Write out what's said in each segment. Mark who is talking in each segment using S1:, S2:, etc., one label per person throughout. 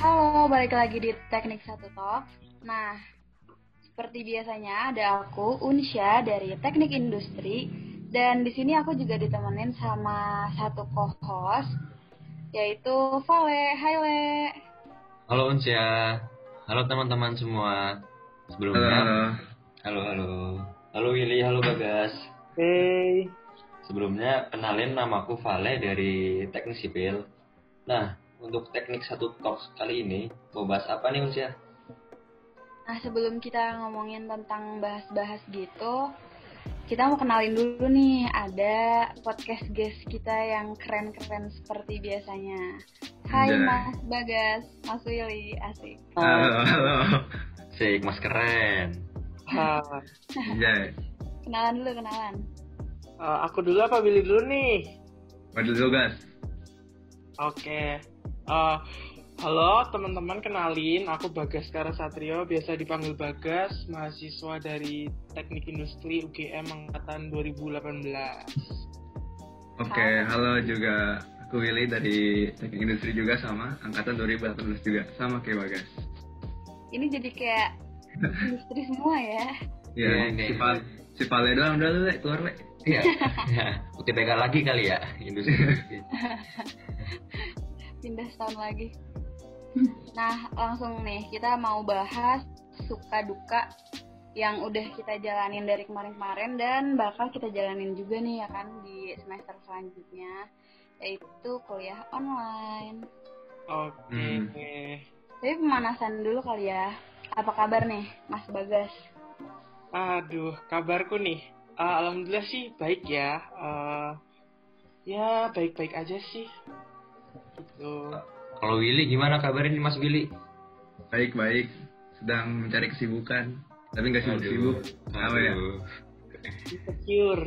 S1: Halo, balik lagi di Teknik Satu Talk. Nah, seperti biasanya ada aku Unsya dari Teknik Industri dan di sini aku juga ditemenin sama satu co-host yaitu Vale. Hai Le.
S2: Halo Unsya, halo teman-teman semua. Sebelumnya, halo halo, halo Willy, halo Bagas.
S3: Hey.
S2: Sebelumnya kenalin namaku Vale dari Teknik Sipil. Nah, untuk teknik satu talks kali ini mau bahas apa nih Unsya?
S1: Nah, sebelum kita ngomongin tentang bahas-bahas gitu, kita mau kenalin dulu nih ada podcast guest kita yang keren-keren seperti biasanya. Hai
S3: Anjay.
S1: Mas Bagas, Mas Willy, asik.
S3: Halo,
S4: Eh,
S3: halo.
S2: Sik, mas keren.
S4: Ah,
S3: Anjay.
S1: Kenalan dulu, kenalan.
S4: eh, aku dulu apa Billy dulu nih?
S3: Waduh, lo, guys.
S4: Oke. Eh, halo teman-teman, kenalin aku Bagas Kara Satrio, biasa dipanggil Bagas, mahasiswa dari Teknik Industri UGM angkatan 2018.
S3: Oke, halo juga. Aku Willy dari Teknik Industri juga sama, angkatan 2018 juga, sama kayak Bagas.
S1: Ini jadi kayak industri semua ya.
S3: Ya,
S2: Iya, iya,
S3: si
S2: iya.
S3: Pal- si Pale doang, udah lu, Le, keluar, Le.
S2: Iya. ya, UTBK lagi kali ya industri.
S1: Pindah setahun lagi. Nah, langsung nih kita mau bahas suka duka yang udah kita jalanin dari kemarin-kemarin dan bakal kita jalanin juga nih ya kan di semester selanjutnya yaitu kuliah online.
S4: Oke.
S1: Tapi pemanasan dulu kali ya. Apa kabar nih, Mas Bagas?
S4: Aduh, kabarku nih. Ah, Alhamdulillah sih baik ya. Eh, ya baik-baik aja sih. Gitu.
S2: Kalau Willy gimana kabarin nih Mas Willy?
S3: Baik-baik, sedang mencari kesibukan. Tapi nggak sibuk-sibuk. Apa ya?
S2: Aduh.
S4: Insecure.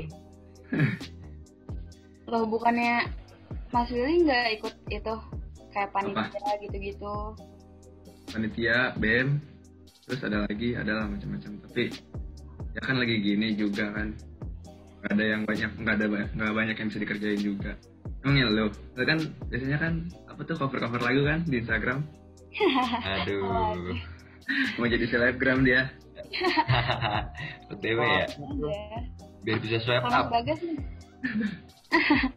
S1: Loh, bukannya Mas Willy nggak ikut itu kayak panitia gitu-gitu.
S3: Panitia, BM, terus ada lagi, adalah macam-macam. Tapi, ya kan lagi gini juga kan. Nggak ada yang banyak, nggak ada ba- nggak banyak yang bisa dikerjain juga. Emang ya lo, lo kan biasanya kan apa tuh cover-cover lagu kan di Instagram
S2: Aduh.
S3: mau jadi selebgram dia.
S2: OTW ya,
S1: Ada.
S2: biar bisa swipe
S1: Sama
S2: up.
S1: Bagas nih.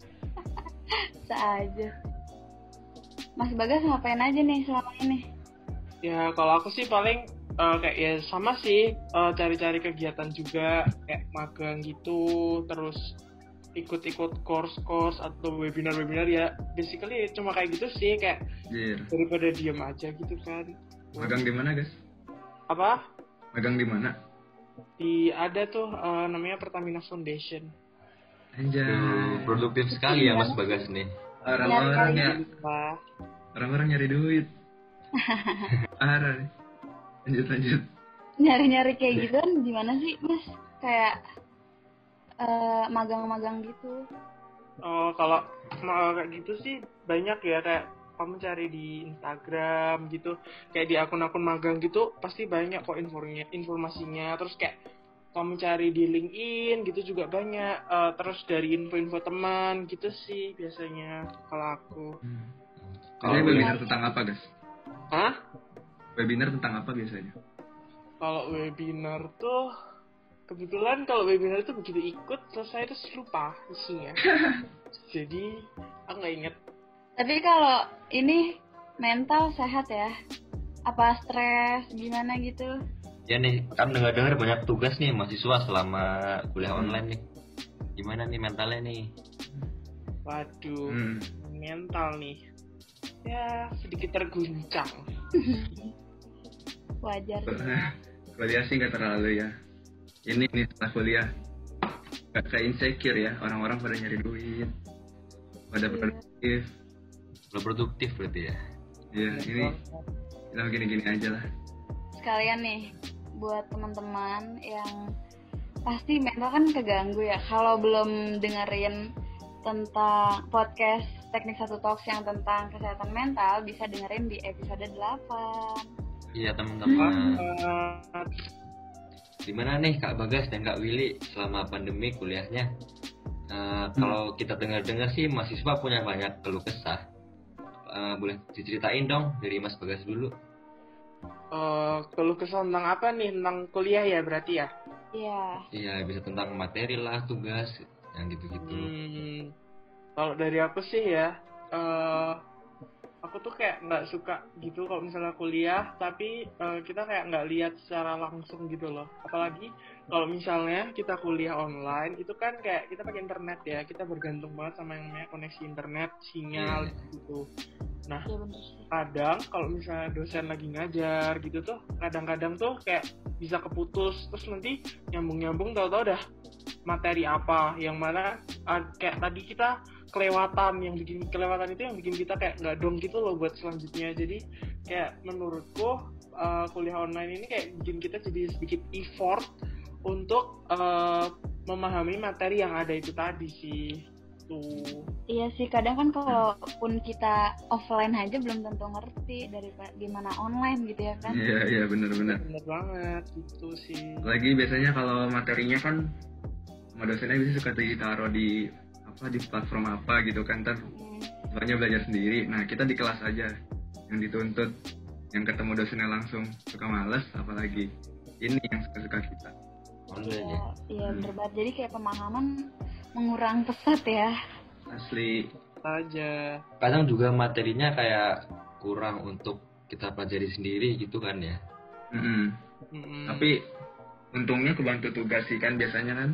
S1: Bisa aja. Mas Bagas ngapain aja nih selama ini?
S4: Ya kalau aku sih paling eh, kayak ya sama sih eh, cari-cari kegiatan juga kayak magang gitu terus ikut-ikut course-course atau webinar-webinar ya basically cuma kayak gitu sih kayak
S3: Jir.
S4: daripada diem aja gitu kan
S3: Magang di mana, guys?
S4: apa
S3: Magang di mana?
S4: di ada tuh eh, namanya Pertamina Foundation
S3: Anjay.
S2: Aduh, produktif sekali ya Mas Bagas nih.
S3: Orang-orang ya,
S4: Wah,
S3: orang-orang nyari duit. Parah nih. Lanjut lanjut.
S1: Nyari-nyari kayak gitu kan gimana sih, Mas? Kayak eh, magang-magang gitu.
S4: oh kalau mau kayak gitu sih banyak ya kayak kamu cari di Instagram gitu kayak di akun-akun magang gitu pasti banyak kok infonya informasinya terus kayak kamu cari di LinkedIn gitu juga banyak Eh, terus dari info-info teman gitu sih biasanya kalau aku
S3: Hmm. Kalau
S2: Kalau
S3: webinar tentang apa, guys?
S4: Hah?
S3: Webinar tentang apa biasanya?
S4: kalau webinar tuh kebetulan kalau webinar itu begitu ikut selesai terus lupa isinya jadi aku nggak inget
S1: Tapi kalau ini mental sehat ya? Apa stres gimana gitu?
S2: Ya nih, kan dengar-dengar banyak tugas nih mahasiswa selama kuliah online nih. Gimana nih mentalnya nih?
S4: waduh
S3: Hmm.
S4: mental nih ya sedikit terguncang
S1: Wajar sih.
S3: kuliah sih nggak terlalu ya. Ini nih setelah kuliah. Gak kayak insecure ya, orang-orang pada nyari duit. Pada
S1: Iya.
S3: produktif.
S2: Lo produktif berarti ya.
S3: Iya, ini kita gini-gini aja lah.
S1: sekalian nih buat teman-teman yang pasti mental kan keganggu ya kalau belum dengerin tentang podcast teknik satu talks yang tentang kesehatan mental bisa dengerin di episode 8
S2: Iya teman-teman.
S4: Eh,
S2: Gimana nih Kak Bagas dan Kak Willy selama pandemi kuliahnya? Eh, Kalau kita dengar-dengar sih mahasiswa punya banyak keluh kesah. Eh, boleh diceritain dong dari Mas Bagas dulu.
S4: eh, keluh kesah tentang apa nih tentang kuliah ya berarti ya
S1: Iya.
S2: Iya bisa tentang materi lah, tugas, yang gitu-gitu.
S4: Hmm, kalau dari aku sih ya, eh aku tuh kayak nggak suka gitu kalau misalnya kuliah, tapi eh, kita kayak nggak lihat secara langsung gitu loh. Apalagi kalau misalnya kita kuliah online, itu kan kayak kita pakai internet ya, kita bergantung banget sama yang namanya koneksi internet, sinyal
S2: Iya.
S4: gitu.
S1: Iya bener sih.
S4: Kadang kalau misalnya dosen lagi ngajar gitu tuh, kadang-kadang tuh kayak bisa keputus, terus nanti nyambung-nyambung tahu-tahu udah materi apa yang mana ah, kayak tadi kita kelewatan yang bikin kelewatan itu yang bikin kita kayak nggak dong gitu loh buat selanjutnya jadi kayak menurutku eh, kuliah online ini kayak bikin kita jadi sedikit effort untuk eh, memahami materi yang ada itu tadi sih tuh
S1: Iya sih, kadang kan kalaupun kita offline aja belum tentu ngerti dari gimana online gitu ya kan.
S3: Iya iya benar-benar.
S4: bener banget gitu sih
S3: Lagi biasanya kalau materinya kan sama dosennya bisa suka ditaruh di apa di platform apa gitu kan ntar
S1: Hmm.
S3: soalnya belajar sendiri. Nah kita di kelas aja yang dituntut, yang ketemu dosennya langsung suka males, apalagi ini yang suka-suka kita.
S2: Monggo
S1: Iya,
S2: aja.
S1: iya
S3: Hmm.
S1: bener banget. Jadi kayak pemahaman mengurang pesat ya.
S3: Asli
S4: aja
S2: Kadang juga materinya kayak kurang untuk kita pelajari sendiri gitu kan ya.
S3: Mm-mm.
S4: Mm-mm.
S3: Tapi untungnya kebantu tugas sih kan biasanya kan.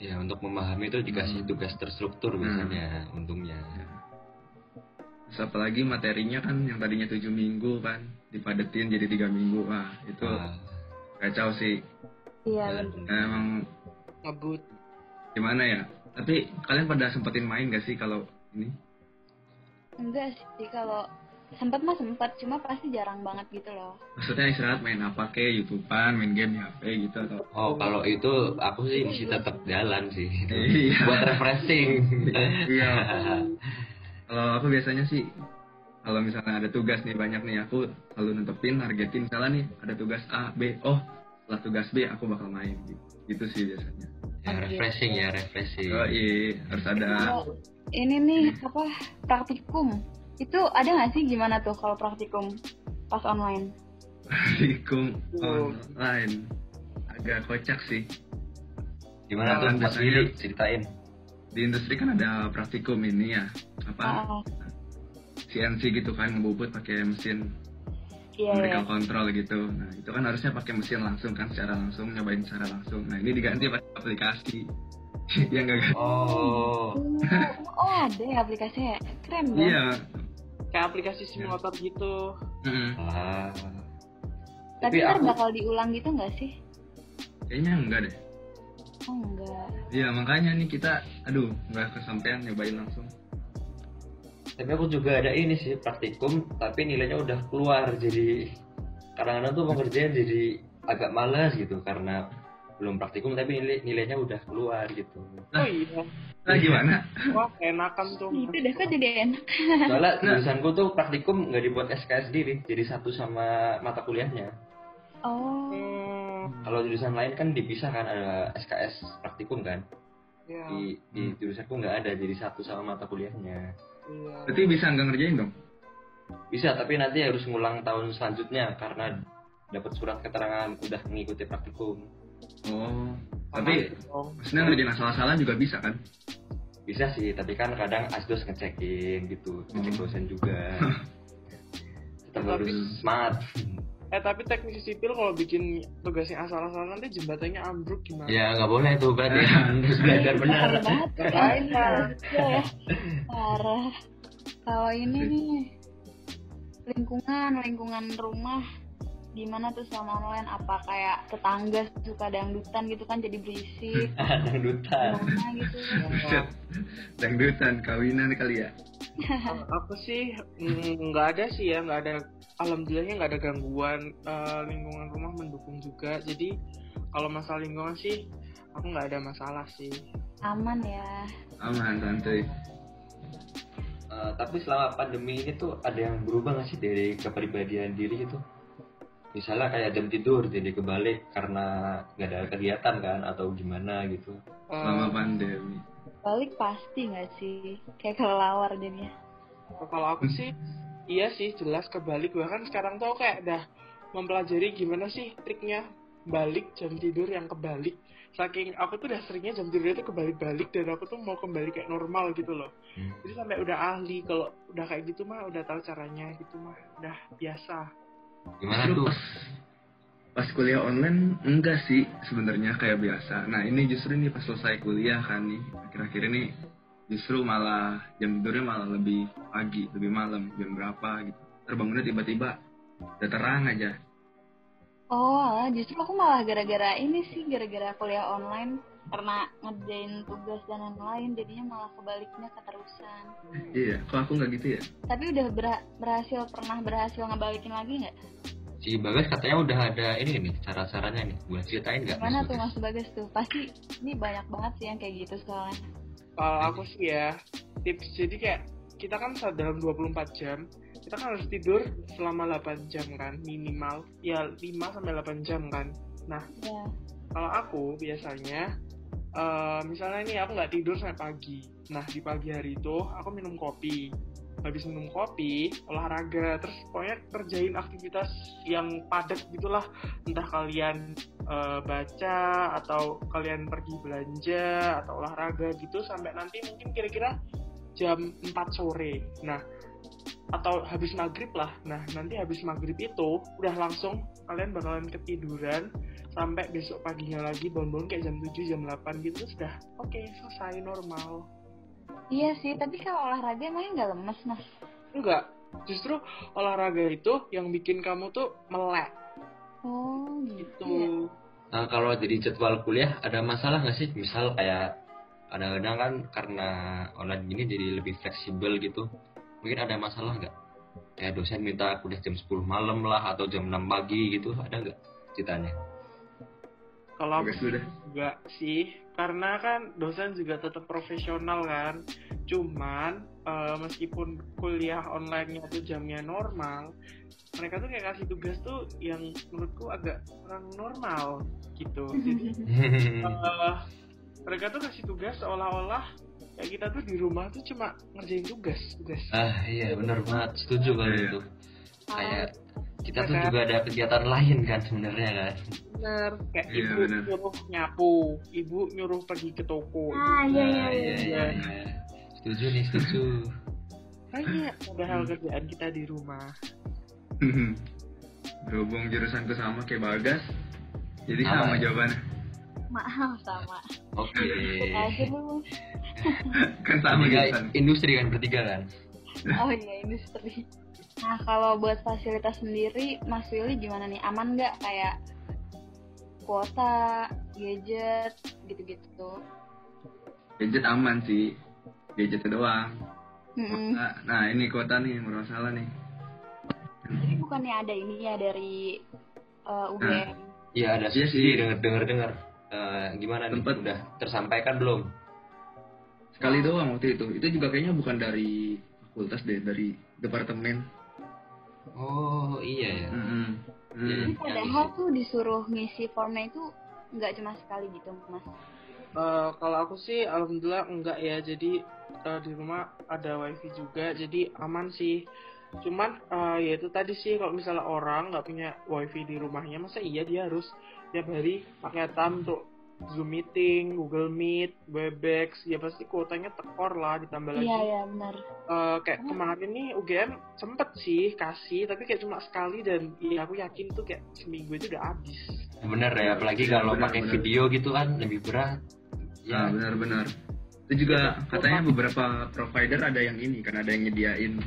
S2: Ya untuk memahami itu dikasih
S3: Hmm.
S2: tugas terstruktur biasanya untungnya.
S3: Terus apalagi materinya kan yang tadinya tujuh minggu kan dipadetin jadi tiga minggu. Wah itu
S2: Wah,
S3: kacau sih. Nah,
S1: Iya
S2: jalan
S1: bener.
S3: Emang
S4: ngebut
S3: gimana ya? Tapi kalian pada sempetin main gak sih kalau ini?
S1: Enggak sih, kalau sempet mah sempet, cuma pasti jarang banget gitu loh.
S3: Maksudnya istirahat main apa kek, YouTubean, main game di HP gitu atau?
S2: Oh, kalau itu aku sih mesti tetap jalan sih.
S3: Iya.
S2: Buat refreshing. Ah,
S3: iya. Kalau aku biasanya sih kalau misalnya ada tugas nih banyak nih aku selalu nentepin targetin misalnya nih ada tugas A B oh setelah tugas B aku bakal main gitu, Gitu sih biasanya
S2: ya, refreshing ya, refreshing.
S3: oh iya harus ada
S1: Kalau ini nih apa praktikum itu ada nggak sih gimana tuh kalau praktikum pas online?
S3: praktikum
S4: Oh.
S3: online agak kocak sih
S2: Gimana tuh
S3: Jalan
S2: Mas
S3: biasanya. gitu.
S2: Willy ceritain?
S3: di industri kan ada praktikum ini ya apa
S1: Ah,
S3: CNC gitu kan ngebubut pakai mesin
S1: iya iya.
S3: mereka kontrol gitu nah itu kan harusnya pakai mesin langsung kan secara langsung nyobain secara langsung nah ini diganti pakai aplikasi Iya, yang
S1: Iya.
S3: gak
S2: Oh.
S1: Oh, oh, ada ya aplikasinya, ya? keren banget.
S3: iya
S4: kayak aplikasi simulator gitu
S3: Mm-mm.
S2: Ah.
S1: Tapi
S2: Tapi
S1: ntar
S2: aku
S1: bakal diulang gitu nggak sih?
S3: kayaknya enggak deh
S1: Oh enggak.
S3: iya makanya nih kita aduh nggak kesampaian nyobain langsung
S2: tapi aku juga ada ini sih praktikum tapi nilainya udah keluar jadi kadang-kadang tuh mau kerjain jadi agak males gitu karena belum praktikum tapi nilai nilainya udah keluar gitu
S4: oh iya
S3: nah gimana
S4: wah enakan tuh
S1: Itu udah kok jadi enak.
S2: soalnya jurusanku tuh praktikum nggak dibuat SKS diri jadi satu sama mata kuliahnya
S1: Oh,
S4: Hmm,
S2: kalau jurusan lain kan dipisah kan ada SKS praktikum kan
S3: Iya.
S4: ya,
S2: di, di jurusanku nggak ada jadi satu sama mata kuliahnya
S4: iya.
S3: berarti bisa nggak ngerjain dong
S2: bisa tapi nanti harus ngulang tahun selanjutnya karena dapat surat keterangan udah mengikuti praktikum
S3: oh
S4: Sama
S3: tapi
S4: aja dong.
S3: maksudnya ngerjain asal-asalan juga bisa kan
S2: bisa sih tapi kan kadang asdos ngecekin gitu ngecek
S3: Hmm.
S2: dosen juga tetap
S4: Tapi-
S2: harus smart
S4: eh tapi teknisi sipil kalau bikin tugasnya asal-asalan nanti jembatannya ambruk gimana
S2: ya
S3: Iya.
S2: nggak boleh tuh berarti harus belajar benar
S1: parah banget.
S4: Makanya.
S1: Iya. Parah. Kalau ini nih lingkungan, lingkungan rumah gimana tuh sama online apa kayak tetangga suka dangdutan gitu kan jadi berisik
S2: dangdutan
S1: gimana gitu
S4: Nah,
S3: dangdutan kawinan kali ya
S4: kalau aku sih mm, nggak ada sih ya nggak ada alhamdulillahnya nggak ada gangguan Eh, lingkungan rumah mendukung juga jadi kalau masalah lingkungan sih aku nggak ada masalah sih
S1: aman ya
S3: aman santuy
S2: Eh, tapi selama pandemi ini tuh ada yang berubah nggak sih dari kepribadian diri itu misalnya kayak jam tidur jadi kebalik karena nggak ada kegiatan kan atau gimana gitu
S4: Eh,
S3: selama pandemi
S1: Balik pasti nggak sih? Kayak kelelawar jadinya.
S4: Eh, kalau aku sih iya sih jelas kebalik bahkan sekarang tuh aku kayak dah mempelajari gimana sih triknya balik jam tidur yang kebalik saking aku tuh udah seringnya jam tidurnya tuh kebalik-balik dan aku tuh mau kembali kayak normal gitu loh
S2: Hmm.
S4: jadi sampai udah ahli kalau udah kayak gitu mah udah tahu caranya gitu mah udah biasa
S2: gimana tuh
S3: Lu pas pas kuliah online enggak sih sebenarnya kayak biasa nah ini justru nih pas selesai kuliah kan nih akhir-akhir ini justru malah jam tidurnya malah lebih pagi lebih malam jam berapa gitu terbangunnya tiba-tiba udah terang aja
S1: Oh, alah, justru aku malah gara-gara ini sih, gara-gara kuliah online karena ngerjain tugas dan lain-lain jadinya malah kebaliknya keterusan.
S3: iya kok aku nggak gitu ya
S1: Tapi udah berha- berhasil pernah berhasil ngebalikin lagi nggak?
S2: si bagas katanya udah ada ini nih cara caranya nih boleh ceritain nggak
S1: Gimana
S2: Mas
S1: tuh
S2: Bagas?
S1: Mas Bagas tuh? Pasti ini banyak banget sih yang kayak gitu soalnya.
S4: Kalau aku sih ya tips jadi kayak kita kan saat dalam 24 jam kita kan harus tidur selama 8 jam kan minimal ya 5 sampai 8 jam kan.
S1: Ya.
S4: Kalau aku biasanya eh, misalnya nih aku nggak tidur sampai pagi. Nah di pagi hari itu aku minum kopi. Habis minum kopi, olahraga, terus pokoknya kerjain aktivitas yang padat gitulah. Entah kalian eh, baca atau kalian pergi belanja atau olahraga gitu sampai nanti mungkin kira-kira jam 4 sore. Nah, atau habis maghrib lah. Nah, nanti habis maghrib itu udah langsung kalian bakalan ketiduran sampai besok paginya lagi bangun kayak jam 7, jam 8 gitu terus udah oke selesai normal.
S1: Iya sih, tapi kalau olahraga emangnya nggak lemes mas?
S4: Enggak, justru olahraga itu yang bikin kamu tuh melek
S1: Oh gitu.
S4: gitu.
S2: Nah, kalau jadi jadwal kuliah ada masalah nggak sih misal kayak kadang-kadang kan karena online gini jadi lebih fleksibel gitu mungkin ada masalah nggak kayak dosen minta aku udah jam 10 malam lah atau jam 6 pagi gitu ada nggak ceritanya
S4: Kalau aku
S3: bagus sudah
S4: Enggak sih, karena kan dosen juga tetap profesional kan. Cuman eh, meskipun kuliah online-nya tuh jamnya normal, mereka tuh kayak kasih tugas tuh yang menurutku agak kurang normal gitu.
S1: Mhm.
S4: Jadi eh, mereka tuh kasih tugas seolah-olah kayak kita tuh di rumah tuh cuma ngerjain tugas, tugas.
S2: ah iya benar banget setuju kalau
S3: Iya.
S2: itu kayak kita tuh
S1: Iya,
S4: Kan?
S2: juga ada kegiatan lain kan sebenarnya kan
S4: Bener. Kayak
S3: Iya,
S4: ibu
S3: bener.
S4: nyuruh nyapu, ibu nyuruh pergi ke toko.
S1: Ah iya iya.
S2: Nah,
S1: iya.
S2: iya iya setuju nih setuju
S4: Banyak padahal
S3: Hmm.
S4: kerjaan kita di rumah.
S3: berhubung jurusanku sama kayak bagas jadi
S2: Sama
S3: sama
S2: ya?
S3: jawabannya
S1: Maaf sama.
S2: oke
S1: Ikut aja dulu.
S3: kan sama
S2: Bertiga
S3: jurusan
S2: industri kan bertiga kan
S1: Oh iya industri. Nah kalau buat fasilitas sendiri, Mas Willy gimana nih? Aman nggak kayak kuota, gadget, gitu-gitu?
S3: gadget aman sih gadget doang
S1: Mm-mm.
S3: Nah, nah, ini kota nih yang bermasalah nih.
S1: Jadi bukannya ada ini ya dari uh, UGM?
S2: iya ada
S3: Iya
S2: subsidi
S3: sih.
S2: denger denger dengar gimana nih
S3: Tempat.
S2: udah tersampaikan belum
S3: Sekali doang waktu itu. Itu juga kayaknya bukan dari fakultas deh, dari departemen.
S2: oh iya ya
S3: Mm-mm. Mm.
S1: Jadi padahal tuh disuruh ngisi formnya itu nggak cuma sekali gitu mas.
S4: Eh, kalau aku sih alhamdulillah enggak ya jadi eh, di rumah ada wifi juga jadi aman sih cuman eh, ya itu tadi sih kalau misalnya orang nggak punya wifi di rumahnya masa iya dia harus tiap hari paketan untuk zoom meeting google meet webex ya pasti kuotanya tekor lah ditambah lagi
S1: Iya iya benar.
S4: Eh, kayak kemarin nih UGM sempet sih kasih tapi kayak cuma sekali dan ya aku yakin tuh kayak seminggu itu udah habis
S2: bener ya apalagi
S3: Iya,
S2: kalau
S3: bener,
S2: pakai
S3: bener.
S2: video gitu kan lebih berat
S3: Nah,
S2: ya
S3: benar-benar. Itu juga katanya beberapa provider ada yang ini, kan ada yang nyediain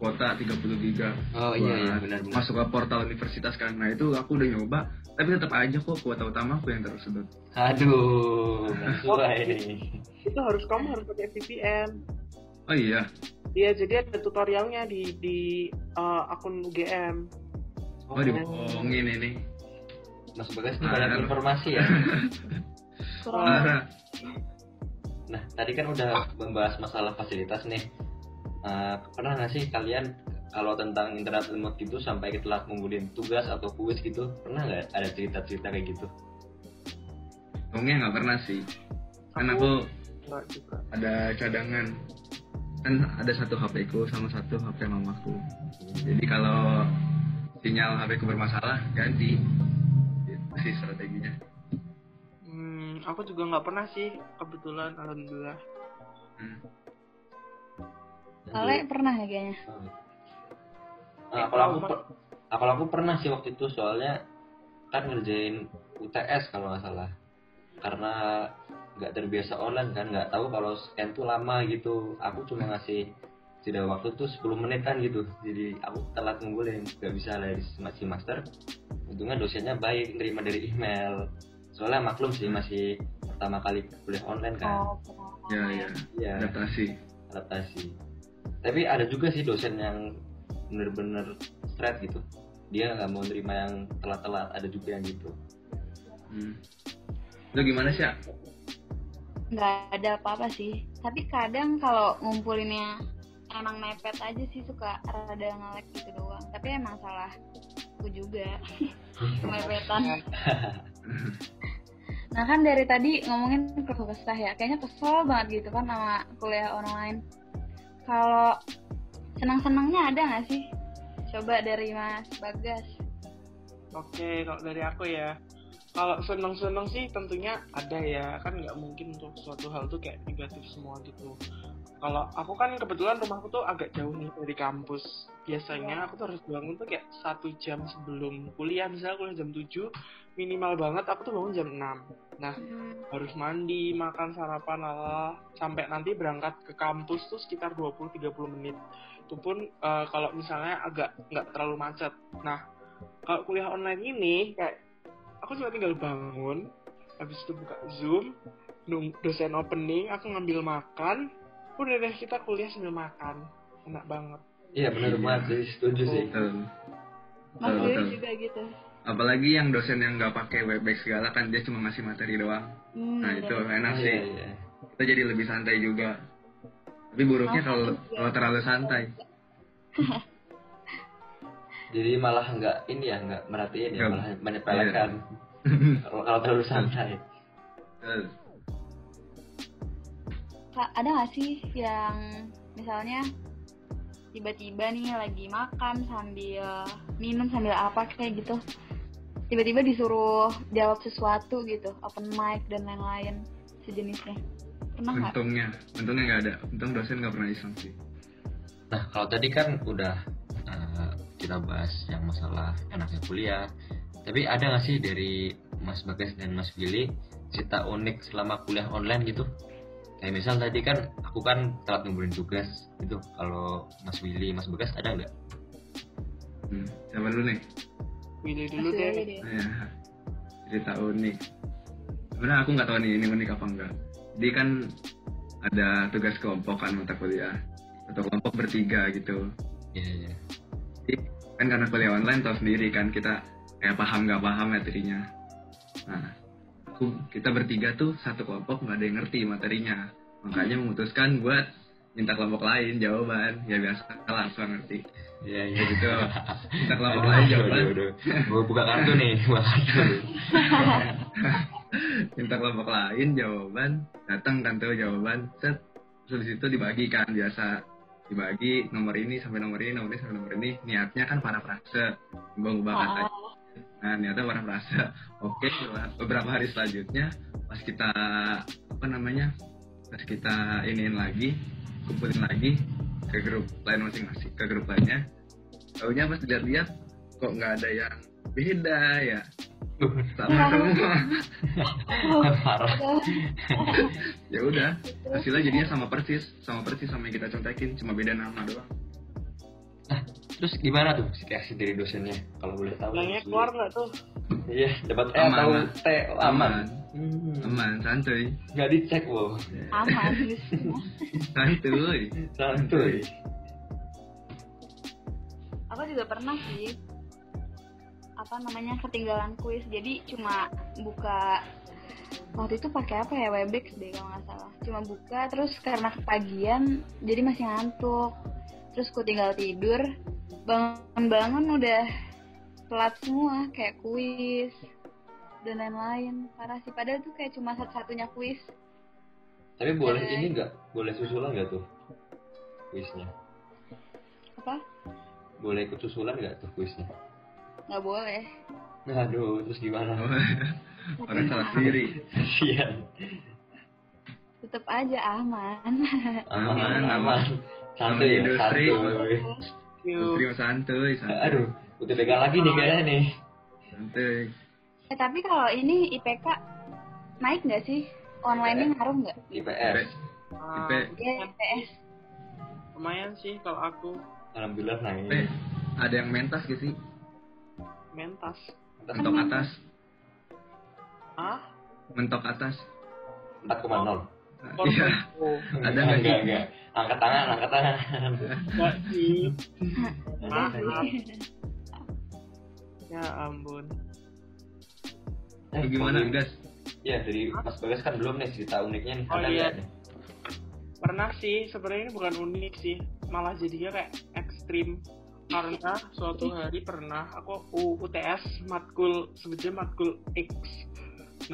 S3: kuota 30 giga.
S2: oh iya iya
S3: buat
S2: benar benar
S3: Masuk ke portal universitas kan. Nah, itu aku udah nyoba, tapi tetap aja kok kuota utama aku yang tersedot.
S2: aduh sesuai
S4: itu harus kamu harus pakai VPN
S3: Oh iya.
S4: Iya, jadi ada tutorialnya di di eh, akun UGM.
S3: Oh, dibohongin ini.
S2: Mas Bagas ini
S3: Nah,
S2: banyak
S3: bener.
S2: informasi ya.
S1: Kurang
S3: Parah.
S2: Nah, tadi kan udah membahas masalah fasilitas nih. Eh, pernah nggak Ah, sih kalian kalau tentang internet remote gitu sampai telat ngumpulin tugas atau kuis gitu pernah nggak ada cerita-cerita kayak gitu
S3: Untungnya nggak pernah sih. Kan
S4: Aku-
S3: aku
S4: Enggak juga.
S3: ada cadangan. Kan ada satu HP ku sama satu HP mamaku. Jadi kalau sinyal HP ku bermasalah ganti. Itu sih strateginya.
S4: Hmm, aku juga nggak pernah sih kebetulan alhamdulillah.
S3: Hmm.
S1: Ale pernah ya kayaknya.
S2: Nah, kalau aku per- ah, kalau aku pernah sih waktu itu soalnya kan ngerjain UTS kalau nggak salah karena nggak terbiasa online kan nggak tahu kalau scan tuh lama gitu aku cuma ngasih jeda waktu tuh 10 menitan gitu jadi aku telat ngumpulin nggak bisa dari masih master untungnya dosennya baik nerima dari email soalnya maklum sih masih pertama kali kuliah online kan
S1: Oh,
S3: Ya ya.
S2: Iya
S3: Adaptasi.
S2: adaptasi tapi ada juga sih dosen yang bener-bener straight gitu dia nggak mau nerima yang telat-telat ada juga yang gitu
S3: Hmm. Lo gimana sih? Ak?
S1: nggak ada apa-apa sih. Tapi kadang kalau ngumpulinnya emang mepet aja sih suka rada ngelek gitu doang. Tapi emang salah aku juga
S4: Ya,
S1: kemepetan. Nah kan dari tadi ngomongin keluh kesah ya, kayaknya kesel banget gitu kan sama kuliah online. Kalau senang-senangnya ada nggak sih? Coba dari Mas Bagas.
S4: Oke, kalau dari aku ya, kalau seneng-seneng sih tentunya ada ya, kan nggak mungkin untuk suatu hal tuh kayak negatif semua gitu. Kalau aku kan kebetulan rumahku tuh agak jauh nih dari kampus. Biasanya aku tuh harus bangun tuh kayak satu jam sebelum kuliah, misalnya kuliah jam 7, minimal banget aku tuh bangun jam 6.
S3: Hmm.
S4: harus mandi, makan, sarapan, lala, sampai nanti berangkat ke kampus tuh sekitar 20-30 menit. Itu pun eh, kalau misalnya agak nggak terlalu macet. Nah, kalau kuliah online ini, kayak aku cuma tinggal bangun, habis itu buka Zoom, nung- dosen opening, aku ngambil makan, udah deh kita kuliah sambil makan. Enak banget.
S2: iya bener banget sih setuju sih
S3: Betul.
S1: Mas
S3: Betul,
S1: Yuri
S3: betul.
S1: juga gitu.
S3: Apalagi yang dosen yang nggak pakai webex segala kan dia cuma ngasih materi doang.
S1: Hmm,
S3: Nah itu
S2: Iya,
S3: enak sih.
S2: iya.
S3: Kita jadi lebih santai juga. Tapi buruknya
S1: Nah,
S3: kalau
S1: iya.
S3: kalau terlalu santai.
S2: jadi malah nggak ini ya nggak merhatiin ya
S3: Nggak.
S2: malah menyepelekan kalau kalau terlalu santai
S3: Betul.
S1: Kak, ada nggak sih yang misalnya tiba-tiba nih lagi makan sambil minum sambil apa kayak gitu tiba-tiba disuruh jawab sesuatu gitu open mic dan lain-lain sejenisnya pernah nggak
S3: Untungnya, untungnya nggak ada. Untung dosen nggak pernah iseng sih.
S2: Nah, kalau tadi kan udah eh, kita bahas yang masalah enaknya kuliah. Tapi ada nggak sih dari Mas Bagas dan Mas Billy cerita unik selama kuliah online gitu? Kayak misal tadi kan aku kan telat ngumpulin tugas gitu. Kalau Mas Billy, Mas Bagas ada nggak?
S3: Hmm. Siapa dulu nih?
S4: Pilih
S1: Mas
S4: dulu
S1: Yuri
S4: deh.
S1: deh.
S3: Ya, cerita unik. Sebenarnya aku nggak tahu nih ini unik apa enggak. Jadi kan ada tugas kelompok kan mata kuliah. Satu kelompok bertiga gitu.
S2: Iya, iya.
S3: Jadi, kan karena kuliah online tahu sendiri kan kita kayak paham nggak paham materinya. Nah, aku- kita bertiga tuh satu kelompok nggak ada yang ngerti materinya. Makanya memutuskan buat minta kelompok lain jawaban. Ya biasa lah, aku nggak ngerti.
S2: Iya, iya.
S3: Ya gitu. Minta kelompok
S2: Aduh,
S3: lain
S2: aduh,
S3: jawaban.
S2: aduh, aduh. Gua buka kartu nih, buka kartu.
S3: minta kelompok lain jawaban datang kan tuh jawaban set terus habis itu dibagikan biasa dibagi nomor ini sampai nomor ini nomor ini sampai nomor ini niatnya kan para frase ubah-ubah kata
S1: Ah,
S3: nah niatnya para frase oke beberapa hari selanjutnya pas kita apa namanya pas kita iniin lagi kumpulin lagi ke grup lain masing-masing ke grup lainnya taunya pas dilihat-lihat kok nggak ada yang beda ya sama semua
S2: Parah.
S3: ya udah hasilnya jadinya sama persis sama persis sama yang kita contekin cuma beda nama doang
S2: Terus gimana tuh reaksi dari dosennya? Kalau boleh tahu.
S4: Nanya
S2: Mas Willy?
S4: keluar nggak tuh?
S2: Iya, dapat E
S3: Aman,
S2: atau
S3: aman.
S2: T oh, aman. Hmm.
S3: aman santuy
S2: Nggak dicek loh,
S1: aman justru.
S3: santuy
S2: santuy.
S1: aku juga pernah sih apa namanya ketinggalan kuis jadi cuma buka waktu itu pakai apa ya webex deh kalau nggak salah cuma buka terus karena kepagian jadi masih ngantuk terus ku tinggal tidur bangun-bangun udah telat semua kayak kuis dan lain-lain parah sih padahal tuh kayak cuma satu-satunya kuis
S2: Tapi boleh
S1: Oke.
S2: ini nggak? Boleh susulan nggak tuh kuisnya?
S1: apa
S2: Boleh ikut susulan nggak tuh kuisnya?
S1: nggak boleh
S2: Nah, aduh, terus gimana?
S3: Oh. Orang salah sendiri.
S2: Kasian.
S1: tetap aja aman
S2: Aman,
S3: Aman,
S2: aman,
S3: aman.
S2: Santuy, ya,
S3: Aman, industri.
S2: santuy. iya.
S4: Yuk.
S3: Terima santuy, santuy.
S2: Aduh, udah pegang lagi nih kayaknya nih.
S3: santuy.
S1: eh tapi kalau ini IPK naik nggak sih online nya ngaruh nggak
S2: IPS.
S4: Ah,
S3: Ipe.
S1: Iya, IPS
S4: lumayan sih kalau aku
S2: Alhamdulillah
S3: Eh,
S2: naik.
S3: ada yang mentas gak sih?
S4: mentas.
S3: Mentok atas.
S4: Ah?
S3: Mentok atas.
S2: 4,0.
S3: Iya.
S4: Oh,
S3: Ada nggak sih?
S2: enggak, enggak. Angkat tangan, angkat tangan.
S4: enggak sih.
S2: Maaf.
S4: Ya ampun.
S2: Eh,
S3: Lu gimana,
S2: Bang?
S3: Gas?
S2: Iya, dari Mas Bagas kan belum nih cerita uniknya nih.
S4: Oh,
S2: Ada
S4: iya.
S2: nggak nih?
S4: Pernah sih, sebenarnya ini bukan unik sih. Malah jadinya kayak ekstrim. Karena suatu hari pernah aku U- UTS matkul, sebetulnya matkul X.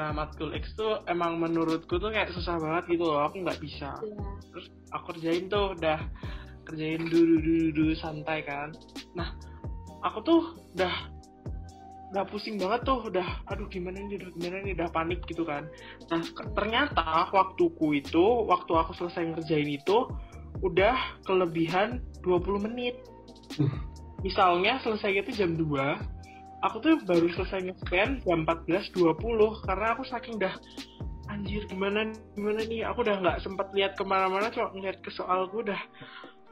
S4: Nah, matkul X tuh emang menurutku tuh kayak susah banget gitu loh. Aku nggak bisa.
S1: Iya.
S4: terus aku kerjain tuh udah kerjain dulu dulu dulu santai kan nah aku tuh udah udah pusing banget tuh udah aduh gimana ini udah gimana ini udah panik gitu kan nah ke- ternyata waktuku itu waktu aku selesai ngerjain itu udah kelebihan 20 menit misalnya selesai itu jam 2 aku tuh baru selesai nge-scan jam 14.20 karena aku saking udah anjir gimana gimana nih aku udah nggak sempat lihat kemana-mana cuma ngeliat ke soal gue udah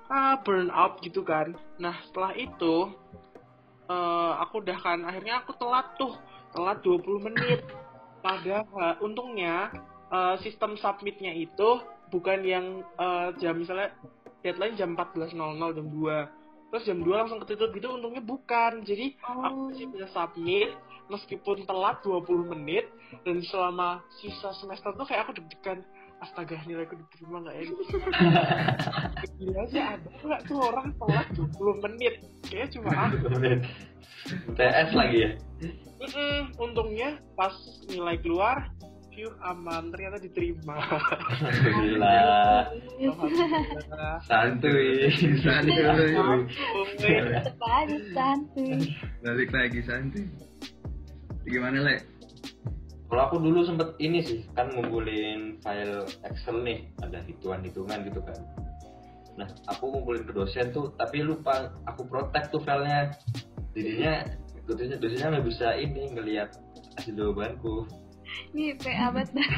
S4: ah burn out gitu kan nah setelah itu eh, aku udah kan akhirnya aku telat tuh telat 20 menit padahal untungnya eh, sistem submitnya itu bukan yang eh, jam misalnya deadline jam 14.00 jam 2 terus jam 2 langsung ketutup gitu untungnya bukan jadi aku
S1: oh
S4: masih bisa submit meskipun telat 20 menit dan selama sisa semester tuh kayak aku deg-degan astaga nilaiku diterima nggak ya gila aja ada nggak tuh orang telat 20 menit kayaknya cuma aku
S2: TS lagi ya?
S4: Mm-mm, untungnya pas nilai keluar view aman ternyata diterima
S2: Alhamdulillah.
S4: Alhamdulillah.
S2: Santuy.
S3: Santuy.
S4: Ampun.
S1: tetap aja santuy
S3: Balik lagi santuy. Gimana, Le?
S2: Kalau aku dulu sempet ini sih, kan ngumpulin file Excel nih, ada hitungan-hitungan gitu kan. Nah, aku ngumpulin ke dosen tuh, tapi lupa aku protect tuh filenya. Jadinya dosennya dosennya nggak bisa ini ngelihat hasil jawabanku.
S1: ini IPA banget dah.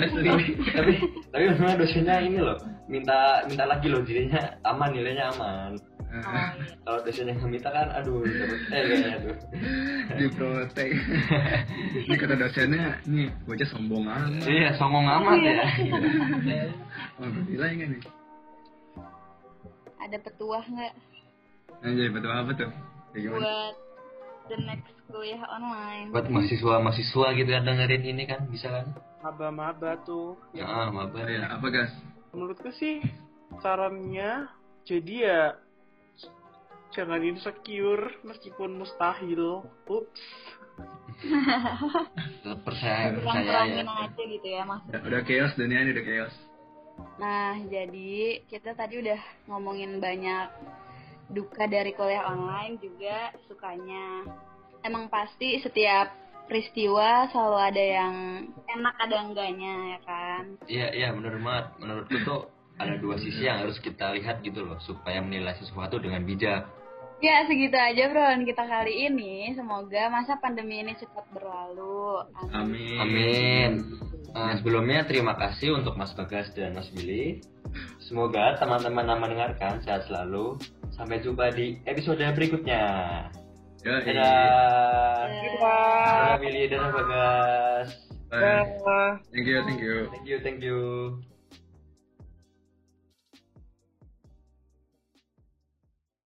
S3: Asli.
S2: tapi tapi tapi memang dosennya ini loh, minta minta lagi loh jadinya aman nilainya aman. Kalau dosennya nggak minta kan, aduh, terus- eh kayaknya tuh.
S3: di protek ini kata dosennya nih bocah sombong amat
S2: Iya, songong amat ya.
S3: oh gila nggak nih
S1: ada petuah nggak
S3: anjay betul apa tuh ya, gimana
S1: buat the next kuliah online
S2: Buat mahasiswa-mahasiswa gitu kan dengerin ini kan, bisa kan?
S4: maba-maba tuh
S2: Ya, ah, mabar.
S3: ya, apa gas
S4: menurutku sih sarannya jadi ya jangan insecure meskipun mustahil ups
S2: percaya
S1: kurang
S2: percaya ya
S1: kurangin aja gitu ya maksudnya
S3: Ya, udah chaos dunia ini udah chaos
S1: Nah, jadi kita tadi udah ngomongin banyak duka dari kuliah online juga sukanya. Emang pasti setiap peristiwa selalu ada yang enak ada enggaknya ya kan.
S2: iya iya benar banget menurutku tuh ada dua sisi yang harus kita lihat gitu loh supaya menilai sesuatu dengan bijak
S1: Ya segitu aja Bron kita kali ini. Semoga masa pandemi ini cepat berlalu.
S3: amin
S2: amin Eh, sebelumnya terima kasih untuk Mas Bagas dan Mas Billy semoga teman-teman yang mendengarkan sehat selalu sampai jumpa di episode berikutnya
S3: Yoi.
S2: dadah
S4: Dadah.
S2: dadah Billy dadah Bagas
S3: Bye.
S4: Dah.
S3: thank you thank you
S2: thank you thank you